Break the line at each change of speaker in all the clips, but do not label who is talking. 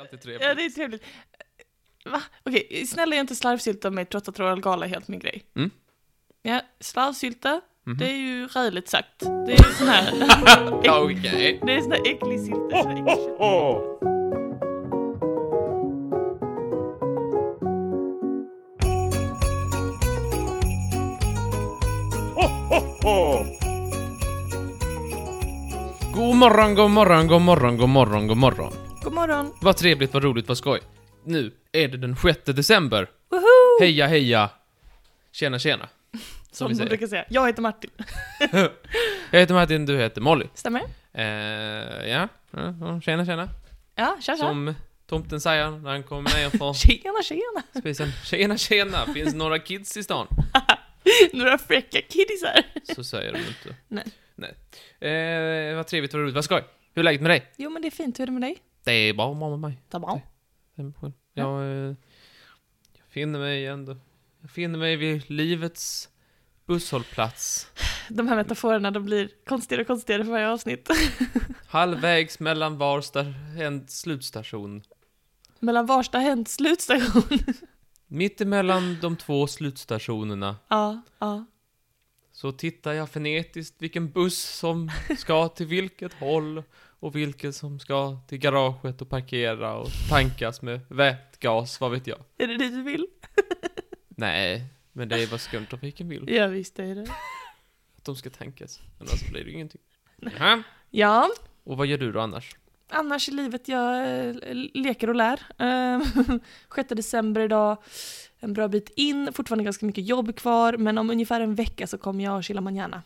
alltid
Ja,
trevligt.
det är trevligt. Eh, Va? Okej, snälla gör inte slarvsylta med mig trots att royal gala är helt min grej.
Mm. Mhm.
Ja, slarvsylta, det är ju räligt sagt. Det är ju sån här...
Okej.
Det är sån här äcklig sylta. sån här äcklig kött.
God morgon, god morgon, god morgon, god morgon, god morgon.
God morgon.
Vad trevligt, vad roligt, vad skoj. Nu är det den 6 december.
Woho!
Heja, heja. Tjena, tjena.
Som
vi
man
säger.
brukar säga. Jag heter Martin.
Jag heter Martin, du heter Molly.
Stämmer det?
Eh, ja, ja, ja, tjena, tjena.
Ja, tja tja.
Som tomten säger när han kommer ner från
Tjena tjena.
spisen. Tjena, tjena, finns några kids i stan?
Några fräcka kiddisar.
Så säger de inte.
Nej.
Nej. Eh, vad trevligt, vad roligt, vad skoj. Hur är läget med dig?
Jo men det är fint, hur är det med dig?
Det är bra med mig.
Det är bra.
Jag, eh, jag finner mig ändå. Jag finner mig vid livets busshållplats.
De här metaforerna de blir konstigare och konstigare för varje avsnitt.
Halvvägs mellan var sta- en slutstation.
Mellan Varsta hänt slutstation.
Mitt emellan de två slutstationerna
ja, ja.
så tittar jag frenetiskt vilken buss som ska till vilket håll och vilken som ska till garaget och parkera och tankas med vätgas, vad vet jag.
Är det det du vill?
Nej, men det är vad skumtrafiken vill.
Ja visst är det.
Att de ska tankas. Annars blir det ju ingenting. Jaha.
Ja,
Och vad gör du då annars?
annars i livet jag eh, leker och lär. Ehm, 6 december idag, en bra bit in, fortfarande ganska mycket jobb kvar, men om ungefär en vecka så kommer jag chilla manana.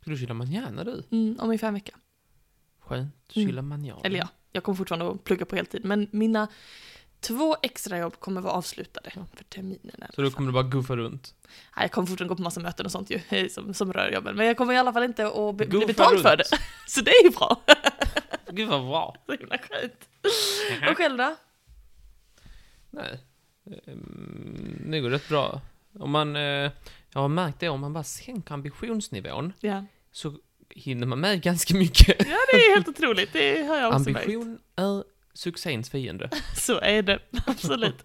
Ska du chilla manjana du?
Mm, om ungefär en vecka.
Skönt,
Mm.
chilla manjana.
Eller ja, jag kommer fortfarande att plugga på heltid, men mina två extra jobb kommer vara avslutade för terminen. i alla
Så då
fall.
kommer du bara guffa runt?
Nej, jag kommer fortfarande gå på massa möten och sånt ju, eh, som, som rör jobben. Men jag kommer i alla fall inte att be- bli
Guffa
betald för det.
runt.
Så det är ju bra.
Gud vad bra.
Så himla skönt.
Mm-hmm.
Och själv då?
Nej. Ehm, Det går rätt bra. Om man, eh, jag har märkt det, om man bara sänker ambitionsnivån
Ja.
så hinner man med ganska mycket.
ja, det är helt otroligt. Det har jag också märkt.
Ambition är succéns fiende.
Så är det, absolut.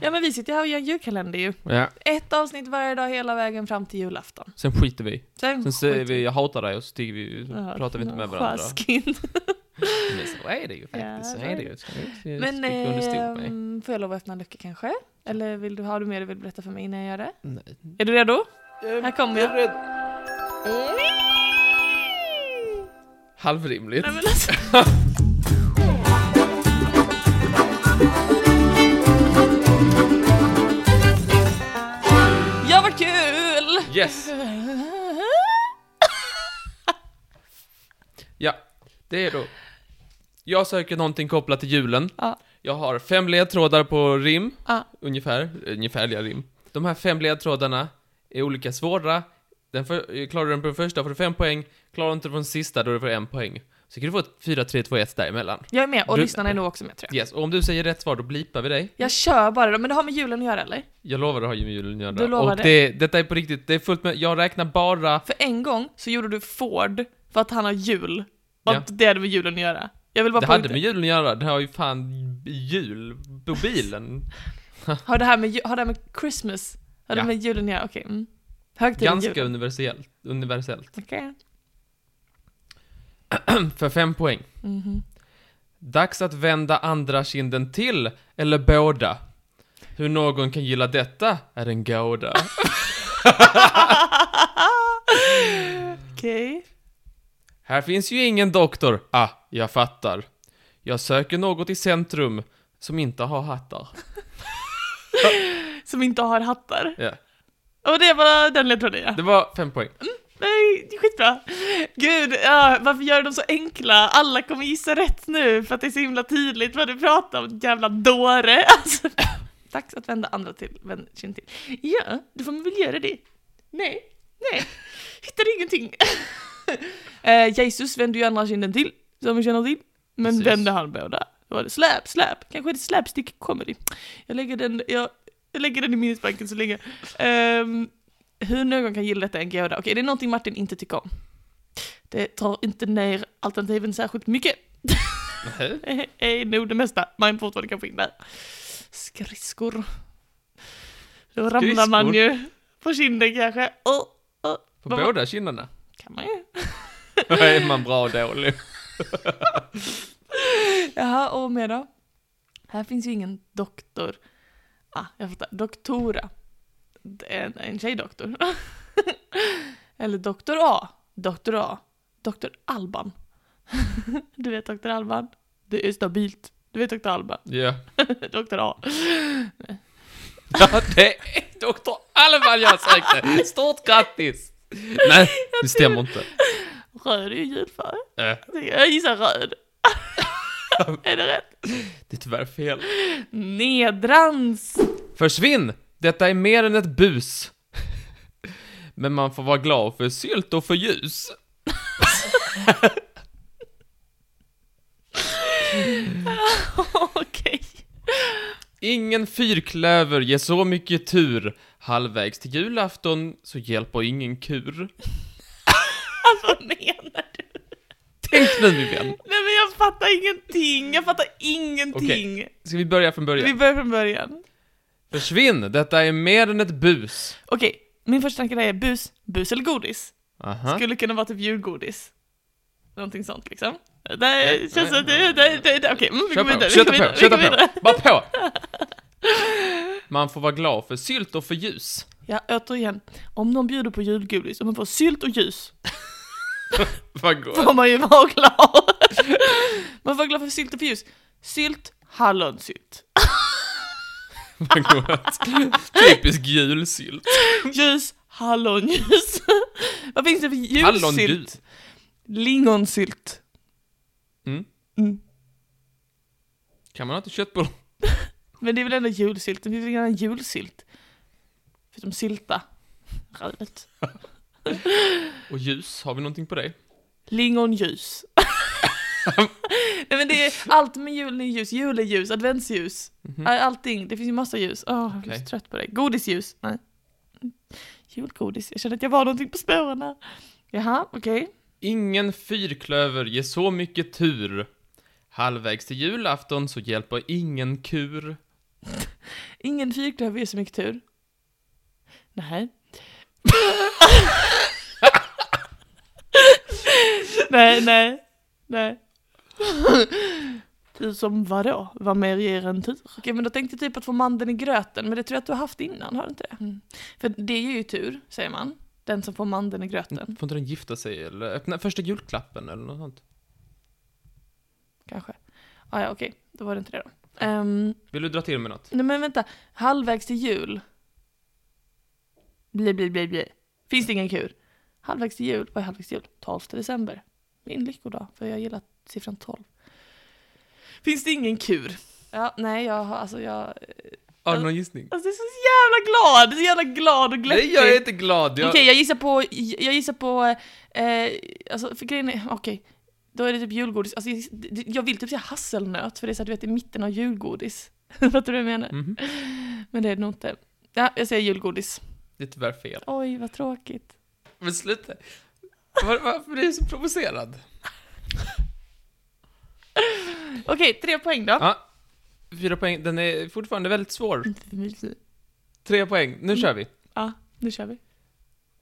Ja, men vi sitter här och gör julkalender ju.
Ja.
Ett avsnitt varje dag hela vägen fram till julafton.
Sen skiter vi.
Sen,
Sen säger vi jag hatar dig och så tycker vi, så
Ja,
pratar vi inte med
ja,
varandra.
Sjaskigt.
Men så är det ju faktiskt.
Ja,
så
det
är
är
det ju. Ska vi inte sticka
Men
under stol med.
ehm, får jag lov att öppna en lucka kanske? Eller vill du, har du mer du vill berätta för mig innan jag gör det?
Nej.
Är du redo? Här kommer jag.
Halvrimligt.
Nej, men alltså. Ja, vad kul!
Yes! Ja, det är då. Jag söker någonting kopplat till julen.
Ja.
Jag har fem ledtrådar på rim,
Ja.
ungefär, ungefärliga rim. De här fem ledtrådarna är olika svåra. Den för, klarar du den på den första får du fem poäng, klarar du inte på den sista då får du en poäng. Så kan du få ett 4, 3, 2, 1 däremellan.
Jag är med, och
Du-
lyssnarna är nog också med tror jag.
Yes, och om du säger rätt svar då blipar vi dig.
Jag kör bara då, men det har med julen att göra eller?
Jag lovar att ha med julen att göra.
Du lovar
och
det.
det. Detta är på riktigt, det är fullt med, jag räknar bara
För en gång så gjorde du Ford för att han har jul. Och
Ja.
att det hade med julen att göra. Jag vill bara
Det hade
poängtera-
med julen att göra, det har ju fan jul på bilen.
Har det här med, ju- har det här med Christmas? Har
Ja.
det med julen att göra? Okej. Mm. Högtiden
Ganska
jul.
universellt. universellt.
Okej.
För fem poäng.
Mhm.
Dags att vända andra kinden till, eller båda. Hur någon kan gilla detta är en gåda.
Okej.
Här finns ju ingen doktor. Ah, jag fattar. Jag söker något i centrum som inte har hattar.
Som inte har hattar.
Ja.
Och det var den ledtråden ja.
Det var fem poäng.
Nej, det är skitbra. Gud, ja, varför gör de så enkla? Alla kommer gissa rätt nu för att det är så himla tydligt vad du pratar om, jävla dåre. Alltså, dags att vända andra till, vänd kind till. Ja, då får man väl göra det. Nej, nej, hittar ingenting. eh, Jesus vände ju andra kinden till, som vi känner till. Men
Precis.
vände han båda? Då var det släp, släp. Kanske är det slapstick comedy. Jag lägger den, jag, jag lägger den i minnesbanken så länge. Ehm, hur någon kan gilla detta är en gåta. Okej, det är någonting Martin inte tycker om. Det tar inte ner alternativen särskilt mycket.
Nej.
Ej, nog det mesta. Man får fortfarande kanske in där. Skridskor. Då ramlar man ju på kinden kanske. Oh, oh.
På
Vad-
båda kinderna.
Kan man ju.
Då är man bra och dålig.
Jaha, och mer då? Här finns ju ingen doktor. Ah, jag fattar. Doktora. Det är En, en tjejdoktor. Eller doktor A. Doktor A. Doktor Alban. Du vet doktor Alban? Det är stabilt. Du vet doktor Alban?
Ja.
Doktor A.
ja det är doktor Alvan jag sökte. Stort grattis! Nej, det stämmer inte.
Röd är ju julfärg.
Eh,
Jag gissar röd. är det rätt?
det är tyvärr fel.
Nedrans.
Försvinn! Detta är mer än ett bus. Men man får vara glad för sylt och för ljus.
Okej.
Ingen fyrklöver ger så mycket tur. Halvvägs till julafton så hjälper ingen kur.
Vad menar du?
Tänk nu min vän.
Nej men jag fattar ingenting. Jag fattar ingenting.
Ska vi börja från
Vi
början?
börjar från början.
Försvinn! Detta är mer än ett bus.
Okej, min första tanke där är bus. Bus eller godis?
Aha.
Skulle kunna vara typ julgodis. Någonting sånt liksom. Det känns som att det... det- det- det- Okej, mm, vi
Kör
går
på,
vidare. vi
köta
går vidare,
på,
vi
köta
går vidare.
på. Bara på! Man får vara glad för sylt och för ljus.
Ja, återigen. Om någon bjuder på julgodis och man får sylt och ljus
Vad gott.
får man ju vara glad. Man får glad för sylt och för ljus. Sylt, hallonsylt.
Vad gott. Typisk julsylt.
Ljus, hallonljus. Vad finns det för
Hallongul.
julsylt? Lingonsylt.
Mm.
Mm.
Kan man ha inte köttbullar?
Men det är väl ändå julsylt? Det finns väl ingen annan julsylt? Förutom sylta. Röret.
Och ljus, har vi någonting på det?
Lingonljus. Nej men det är allt med julen är ljus. Jul är ljus, adventsljus.
Mhm.
Äh, Allting. Det finns ju massa ljus. Åh, jag är
Okej.
så trött på det. Godisljus. Nej. Julgodis. Jag känner att jag var någonting på spåren här. Jaha, okej.
Ingen fyrklöver ger så mycket tur. Halvvägs till julafton så hjälper ingen kur.
Ingen fyrklöver ger så mycket tur. Nej. nej, nej, nej. Tur som vadå? Vad mer ger en tur? Okej, men då tänkte jag typ att få mandeln i gröten, men det tror jag att du har haft innan, har du inte det? För det ger ju tur, säger man. Den som får mandeln i gröten,
Får inte den gifta sig eller öppna första julklappen eller något sånt?
kanske. Ah, ja, okej, då var det inte det då. Ehm,
Vill du dra till med något?
nej men vänta, halvvägs till jul. Bli, bli, bli, bli. Finns det ingen kur? Halvvägs till jul, vad är halvvägs till jul? 12 december. Min lyckodag, för jag gillar siffran 12. Finns det ingen kur? Ja, nej, jag har, alltså jag...
Har du någon gissning?
Alltså jag är så jävla glad! Så jävla glad och glättig!
Nej, jag är inte glad.
Okej,
Jag...
jag gissar på, jag gissar på, eh, alltså för grejen är, okej. Då är det typ julgodis, alltså jag, jag vill typ säga hasselnöt för det är så att du vet i mitten av julgodis. Fattar du vad jag menar?
Mhm.
Men det är det nog inte. Ja, jag säger julgodis.
Det är tyvärr fel.
Oj, vad tråkigt.
Men sluta. Var, varför blir du så provocerad?
Okej, tre poäng då.
Ja. Fyra poäng. Den är fortfarande väldigt svår. Tre poäng. Nu kör vi.
Ja, nu kör vi.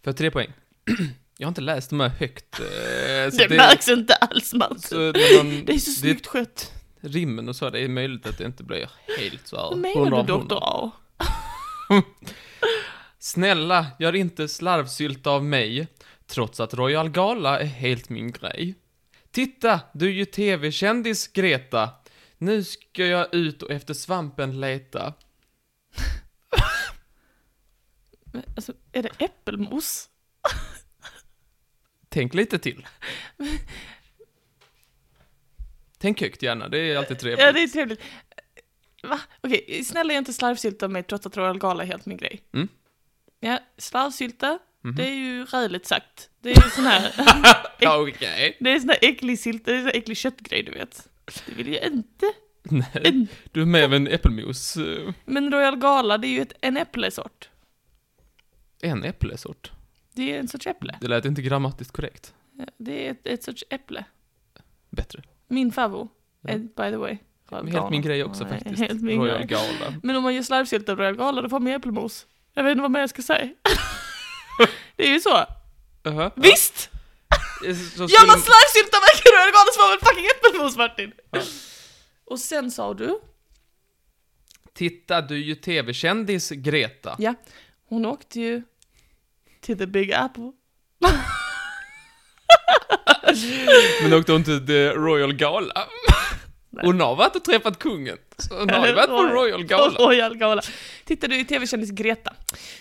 För tre poäng. Jag har inte läst de här högt. eh, Så
Det, märks inte alls
så
Martin.
när man-
Det är så snyggt skött.
rimmen och så, det är möjligt att det inte blir helt så här.
Vad
100
menar
av
du
100.
doktor A?
Snälla, gör inte slarvsylt av mig, trots att Royal Gala är helt min grej. Titta, du är ju tv-kändis, Greta. Nu ska jag ut och efter svampen leta.
Men, Alltså, är det äppelmos?
Tänk lite till. Tänk högt gärna, det är alltid trevligt.
Ja, det är trevligt. Va? Okej, snälla gör inte slarvsylta av mig trots att Royal Gala är helt min grej.
Mm.
Ja, slarvsylta,
Mhm.
det är ju räligt sagt. Det är ju sån här,
Ja, Okej.
det är sån här äcklig sylta, det är sån här äcklig köttgrej du vet. Det vill jag inte.
Nej, du är med en äppelmos. eh,
Men Royal Gala, det är ju ett, en äpplesort.
En äpplesort.
Det är en sorts äpple.
Det lät inte grammatiskt korrekt.
Ja, Det är ett, ett sorts äpple.
Bättre.
Min favvo.
Ja.
Eh, By the way.
Helt min grej också
Nej,
faktiskt.
helt min
Royal
grej.
Gala.
Men om man gör slarvsylt av Royal Gala, då får man äppelmos. Jag vet inte vad mer jag ska säga. det är ju så.
Jaha.
Visst!
Ja, Eh, så
Gör man
skulle-
slarvsylta med Royal Gala så får man väl fucking äppelmos Martin!
Ja.
Och sen sa du,
Titta, du är ju tv-kändis Greta.
ja, hon åkte ju till the big apple.
Men åkte hon till The Royal Gala?
Nej.
Hon har varit och träffat kungen. Så hon har ju
Eller
varit på
Roy-
Royal Gala.
Royal Gala. Tittar du i tv-kändis Greta?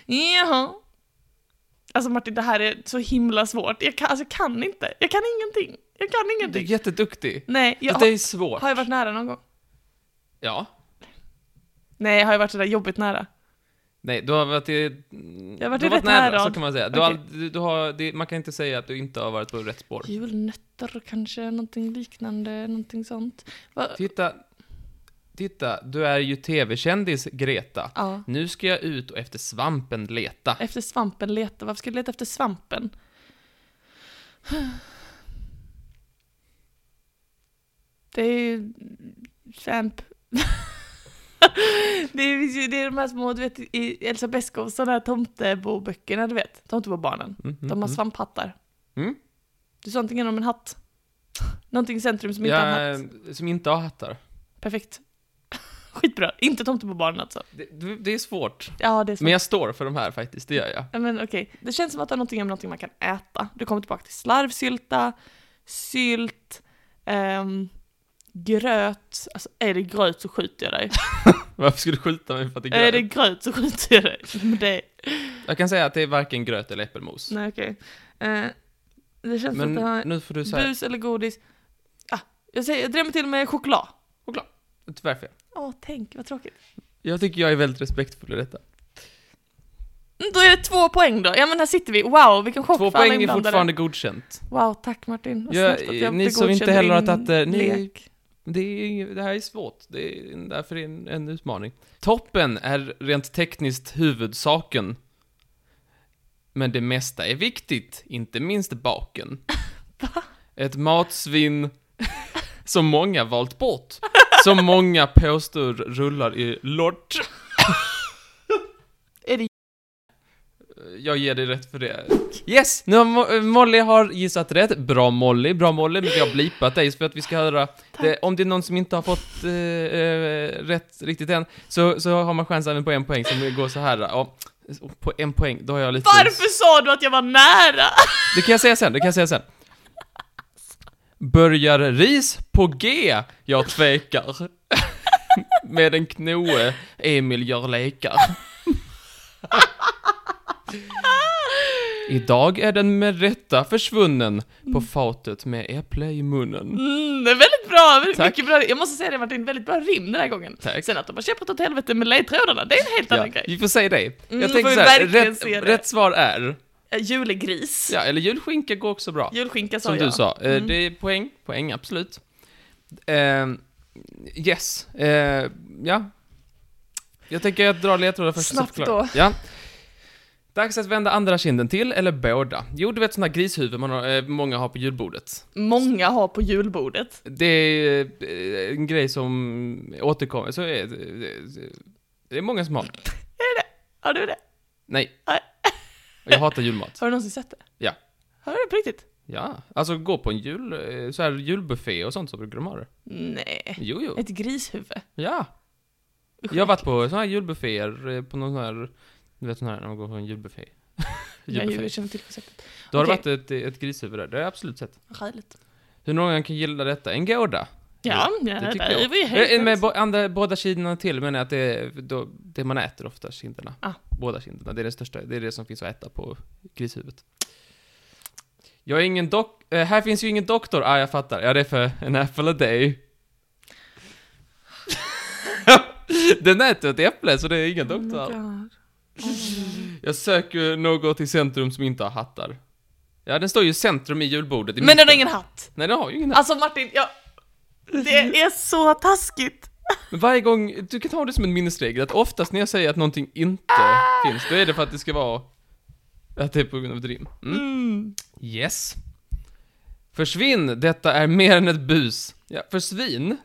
Jaha. Alltså Martin, det här är så himla svårt. Jag kan, alltså, jag kan inte. Jag kan ingenting. Jag kan
Du är
ingenting.
jätteduktig.
Nej, jag
Fast Det
har,
är svårt.
har jag varit nära någon gång?
Ja.
Nej, har jag varit sådär jobbigt nära?
Nej, du har varit i...
Jag har varit
du
i rätt härad.
så kan man säga. Du har,
Okej.
ald- du, du har, det, man kan inte säga att du inte har varit på rätt spår.
Julnötter kanske, någonting liknande, någonting sånt. Va?
Titta, titta, du är ju tv-kändis Greta.
Ja.
Nu ska jag ut och efter svampen leta.
Efter svampen leta, varför ska du leta efter svampen? Det är ju... Svamp. det, är, ju- det är de här små, du vet, i Elsa Beskows sådana här tomteboböckerna, du vet. Tomtebobarnen.
Mm, mm,
De har
mm.
svamphattar.
Mm.
Du sa någonting om en hatt. Någonting i centrum som inte har en
Ja, eh,
hatt.
som inte har hattar.
Perfekt. Skitbra. Inte tomtebobarnen alltså.
Det, det- det är svårt.
Ja, det är svamp.
Men jag står för de här faktiskt, det gör jag.
Ja, men okej. Det känns som att det är någonting om någonting man kan äta. Du kommer tillbaka till slarvsylta, sylt, ehm, gröt. Alltså är det gröt så skjuter jag dig.
Varför skulle du skjuta mig för att det
Är
är
det
gröt?
gröt så skjuter jag dig. Men Eh, det,
Jag kan säga att det är varken gröt eller äppelmos.
nej okej. Eh, det känns
Men
som att det
nu får du
har
säga...
bus eller godis. Ah, jag, säger, jag drämmer till med choklad.
Choklad. Tyvärr fel.
Åh, tänk vad tråkigt.
Jag tycker jag är väldigt respektfull i detta.
Mm, Då är det två poäng då. Ja men här sitter vi. Wow, vilken chock
Två
för alla
poäng är
inblandade.
fortfarande godkänt.
Wow, tack Martin. Vad
Ja,
snällt att
eh,
jag
ni
blev
som inte
godkänd i
heller har
din
tagit det, ni-
lek.
Det, är, ing- det här är svårt, det är, därför är det en, en utmaning. Toppen är rent tekniskt huvudsaken. Men det mesta är viktigt, inte minst baken. Ett matsvinn som många valt bort. Som många påstår rullar i lort.
Är det
Jag ger dig rätt för det. Yes! Nu har Mo- eh, Molly har gissat rätt. Bra Molly, bra Molly, men vi har blipat dig för att vi ska höra det, om det är någon som inte har fått eh, eh, rätt riktigt än, så, så har man chans även på en poäng som går så här. Ja, på en poäng, då har jag lite...
Varför sa du att jag var nära?
Det kan jag säga sen, det kan jag säga sen. Börjar ris på G? Jag tvekar. Med en knoe Emil gör lekar. Idag är den med rätta försvunnen på fatet med äpple i munnen.
Mm, det är väldigt bra, väldigt
Tack.
mycket bra. Jag måste säga det Martin, väldigt bra rim den här gången.
Tack.
Sen att de har kämpat åt helvete med ledtrådarna, det är en helt
Ja,
annan grej.
vi får säga det.
Mm,
Jag tänker
får vi
så här,
verkligen
rätt,
se det.
rätt svar är,
Eh, Julegris.
ja, eller julskinka går också bra.
Julskinka sa
Som
jag. Mm.
du sa, eh, det är poäng, poäng absolut. Eh, yes, eh, ja. Jag tänker att dra ledtrådar först. så
Snabbt
förklarar jag. Ja. Dags att vända andra kinden till, eller båda. Jo, du vet sådana grishuvud man har, eh, många har på julbordet.
Många har på julbordet.
Det är eh, en grej som återkommer, så är det, det- det är många som har.
Har du det?
Nej.
Nej.
Jag hatar julmat.
Har du någonsin sett det?
Ja.
Har du det på riktigt?
Ja, alltså gå på en jul, eh, så här julbuffé och sånt så brukar de ha det.
Nej.
Jo, jo.
Ett grishuvud.
Ja. Jag har varit på såna här julbufféer, eh, på någon sån här, du vet sån här när man går på en julbuffé.
Ja,
julbuffé.
jag känner till konceptet.
Då har det
Okej.
varit ett, ett grishuvud där, det har jag absolut sett.
Skäligt.
Hur någon kan gilla detta? En gårda?
Ja, ja, det,
tycker
där
jag.
är vi helt
Eh, Med
överens.
bo, andra, båda kinderna till menar jag att det är då, det man äter ofta, kinderna.
Ah.
Båda kinderna, det är det största, det är det som finns att äta på grishuvudet. Jag är ingen dok... eh, Här finns ju ingen doktor, ah jag fattar. Ja det är för en apple a day. Den äter ett äpple så det är ingen
Oh my
doktor.
God. Oh.
Jag söker något i centrum som inte har hattar. Ja, den står ju i centrum i julbordet. i
Men den har
mitten.
ingen hatt.
Nej, den har ju ingen hatt.
Alltså Martin, jag... Det är så taskigt.
Men varje gång, du kan ta det som en minnesregel, att oftast när jag säger att någonting inte
Ah!
finns, då är det för att det ska vara... Att det är på grund av ett rim. Mm.
Mm.
Yes. Försvinn, detta är mer än ett bus. Ja, för svin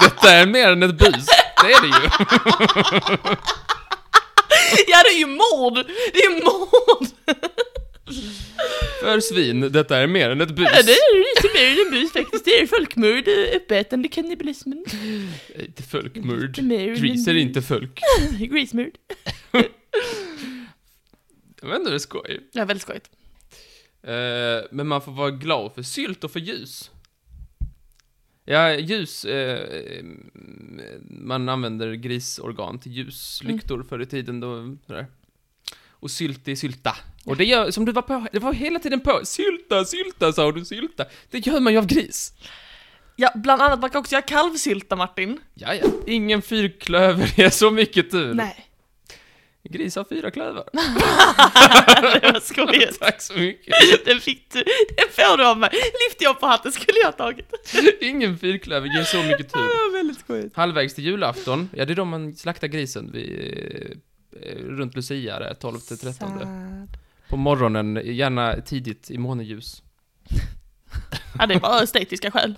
Detta är mer än ett bus. Det är det ju.
Ja, det är ju mord! Det är ju mord!
För svin, detta är mer än ett bus.
Ja, det är ju lite mer än bus faktiskt. Det är folkmord, eh, uppätande kannibalismen,
Eh, Inte folkmord.
Lite mer än
Grease är
en-
inte folk.
grismord.
Jag vet inte, det är skoj.
Ja, väldigt skojigt.
Eh, men man får vara glad för sylt och för ljus. Ja, ljus, eh, man använder grisorgan till ljuslyktor förr i tiden då, sådär. Och sylt är sylta. Och det gör, som du var på, det var hela tiden på, sylta, sylta, sa du, sylta. Det gör man ju av gris.
Ja, bland annat, man kan också göra kalvsylta, Martin.
Ja, ja. Ingen fyrklöver är så mycket tur.
Nej.
Gris har fyra klövar.
det var skojigt.
Tack så mycket.
Den fick du, den får du av mig. Lyfte jag på hatten skulle jag ha tagit.
Ingen fyrklöver ger så mycket tur.
Ja, väldigt skojigt.
Halvvägs till julafton, ja det är då man slaktar grisen vid, eh, eh, runt Lucia där, 12 till 13.
Sad.
På morgonen, gärna tidigt i måneljus.
Ja, det är bara estetiska skäl.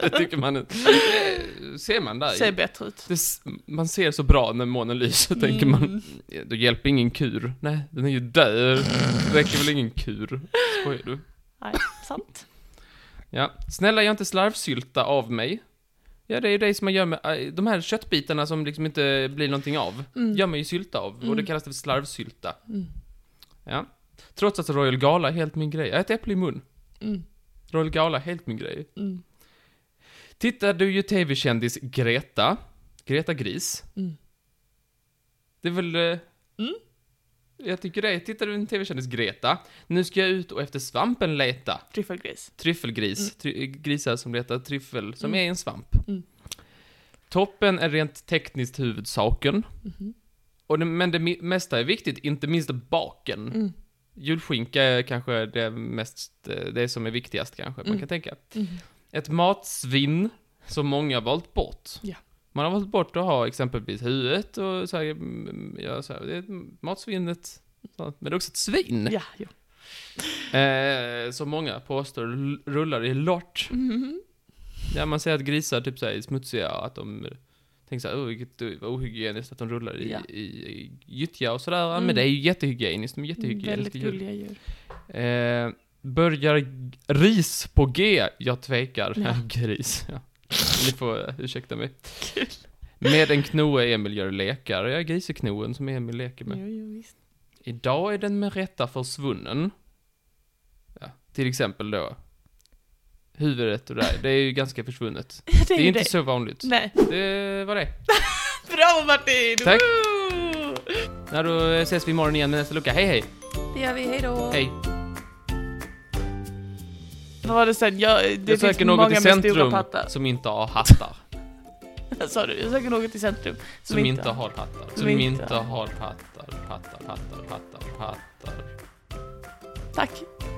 Det tycker man inte. Eh, Ser man där.
Ser bättre ut.
Det, s- man ser så bra när månen lyser, tänker
Mm.
man. Ja, Då hjälper ingen kur. Nej, den är ju död. Det räcker väl ingen kur. Skojar du?
Nej, sant.
Ja. Snälla, gör inte slarvsylta av mig. Ja, det är ju det som man gör med eh, de här köttbitarna som liksom inte blir någonting av.
Mm.
Gör man ju sylta av, och det
Mm.
kallas det för slarvsylta.
Mm.
Ja. Trots att Royal Gala är helt min grej. Jag äter äpple i mun.
Mm.
Royal Gala är helt min grej.
Mm.
Tittar du ju tv-kändis Greta. Greta Gris.
Mm.
Det är väl... eh,
Mm.
Jag tycker det. Tittar du en tv-kändis Greta. Nu ska jag ut och efter svampen leta.
Tryffelgris.
Tryffelgris. Try- eh, grisar som letar tryffel, som
Mm.
är en svamp.
Mm.
Toppen är rent tekniskt huvudsaken.
Mhm.
Och det, men det mi- mesta är viktigt, inte minst baken.
Mm.
Julskinka är kanske det mest, eh, det som är viktigast kanske, man
Mm.
kan tänka.
Mm.
Ett matsvinn som många har valt bort.
Ja.
Man har valt bort att ha exempelvis huvudet och så här, mm, ja, så här, det är ett matsvinnet. så, Men det är också ett svin.
Ja, ja.
Eh, som många påstår l- rullar i lort.
Mhm.
Ja, man säger att grisar typ så här, är smutsiga, att de tänker så här, oh, vilket vad ohygieniskt att de rullar i,
Ja.
i, i gyttja och sådär. Ja, Men
Mm.
det är ju jättehygieniskt, de är jättehygieniskt.
Väldigt
Det är ju-
gulliga djur.
Eh, börjar g- ris på G? Jag tvekar.
Ja.
Gris, ja. Ni får eh, ursäkta mig. Med en knoe Emil gör lekar. Jag är griseknoen som Emil leker med.
Jo, jo, visst.
Idag är den med rätta försvunnen. Ja, till exempel då. Huvudet och det där, det är ju ganska försvunnet.
Ja, det
Det
är
är
ju
inte
det.
så vanligt.
Nej.
Det var det.
Bravo Martin!
Tack.
Woo!
När då eh, ses vi imorgon igen med nästa lucka. Hej hej!
Det gör vi, hejdå!
Hej!
Vad var det sen? Jag, det
Jag
finns
söker något
många
i
med stora
centrum
pattar.
som inte har hattar.
Sa du? Jag söker något i centrum.
Som, inte, har hattar. Som
inte
inte
har.
har hattar. Hattar, hattar, hattar, hattar.
Tack!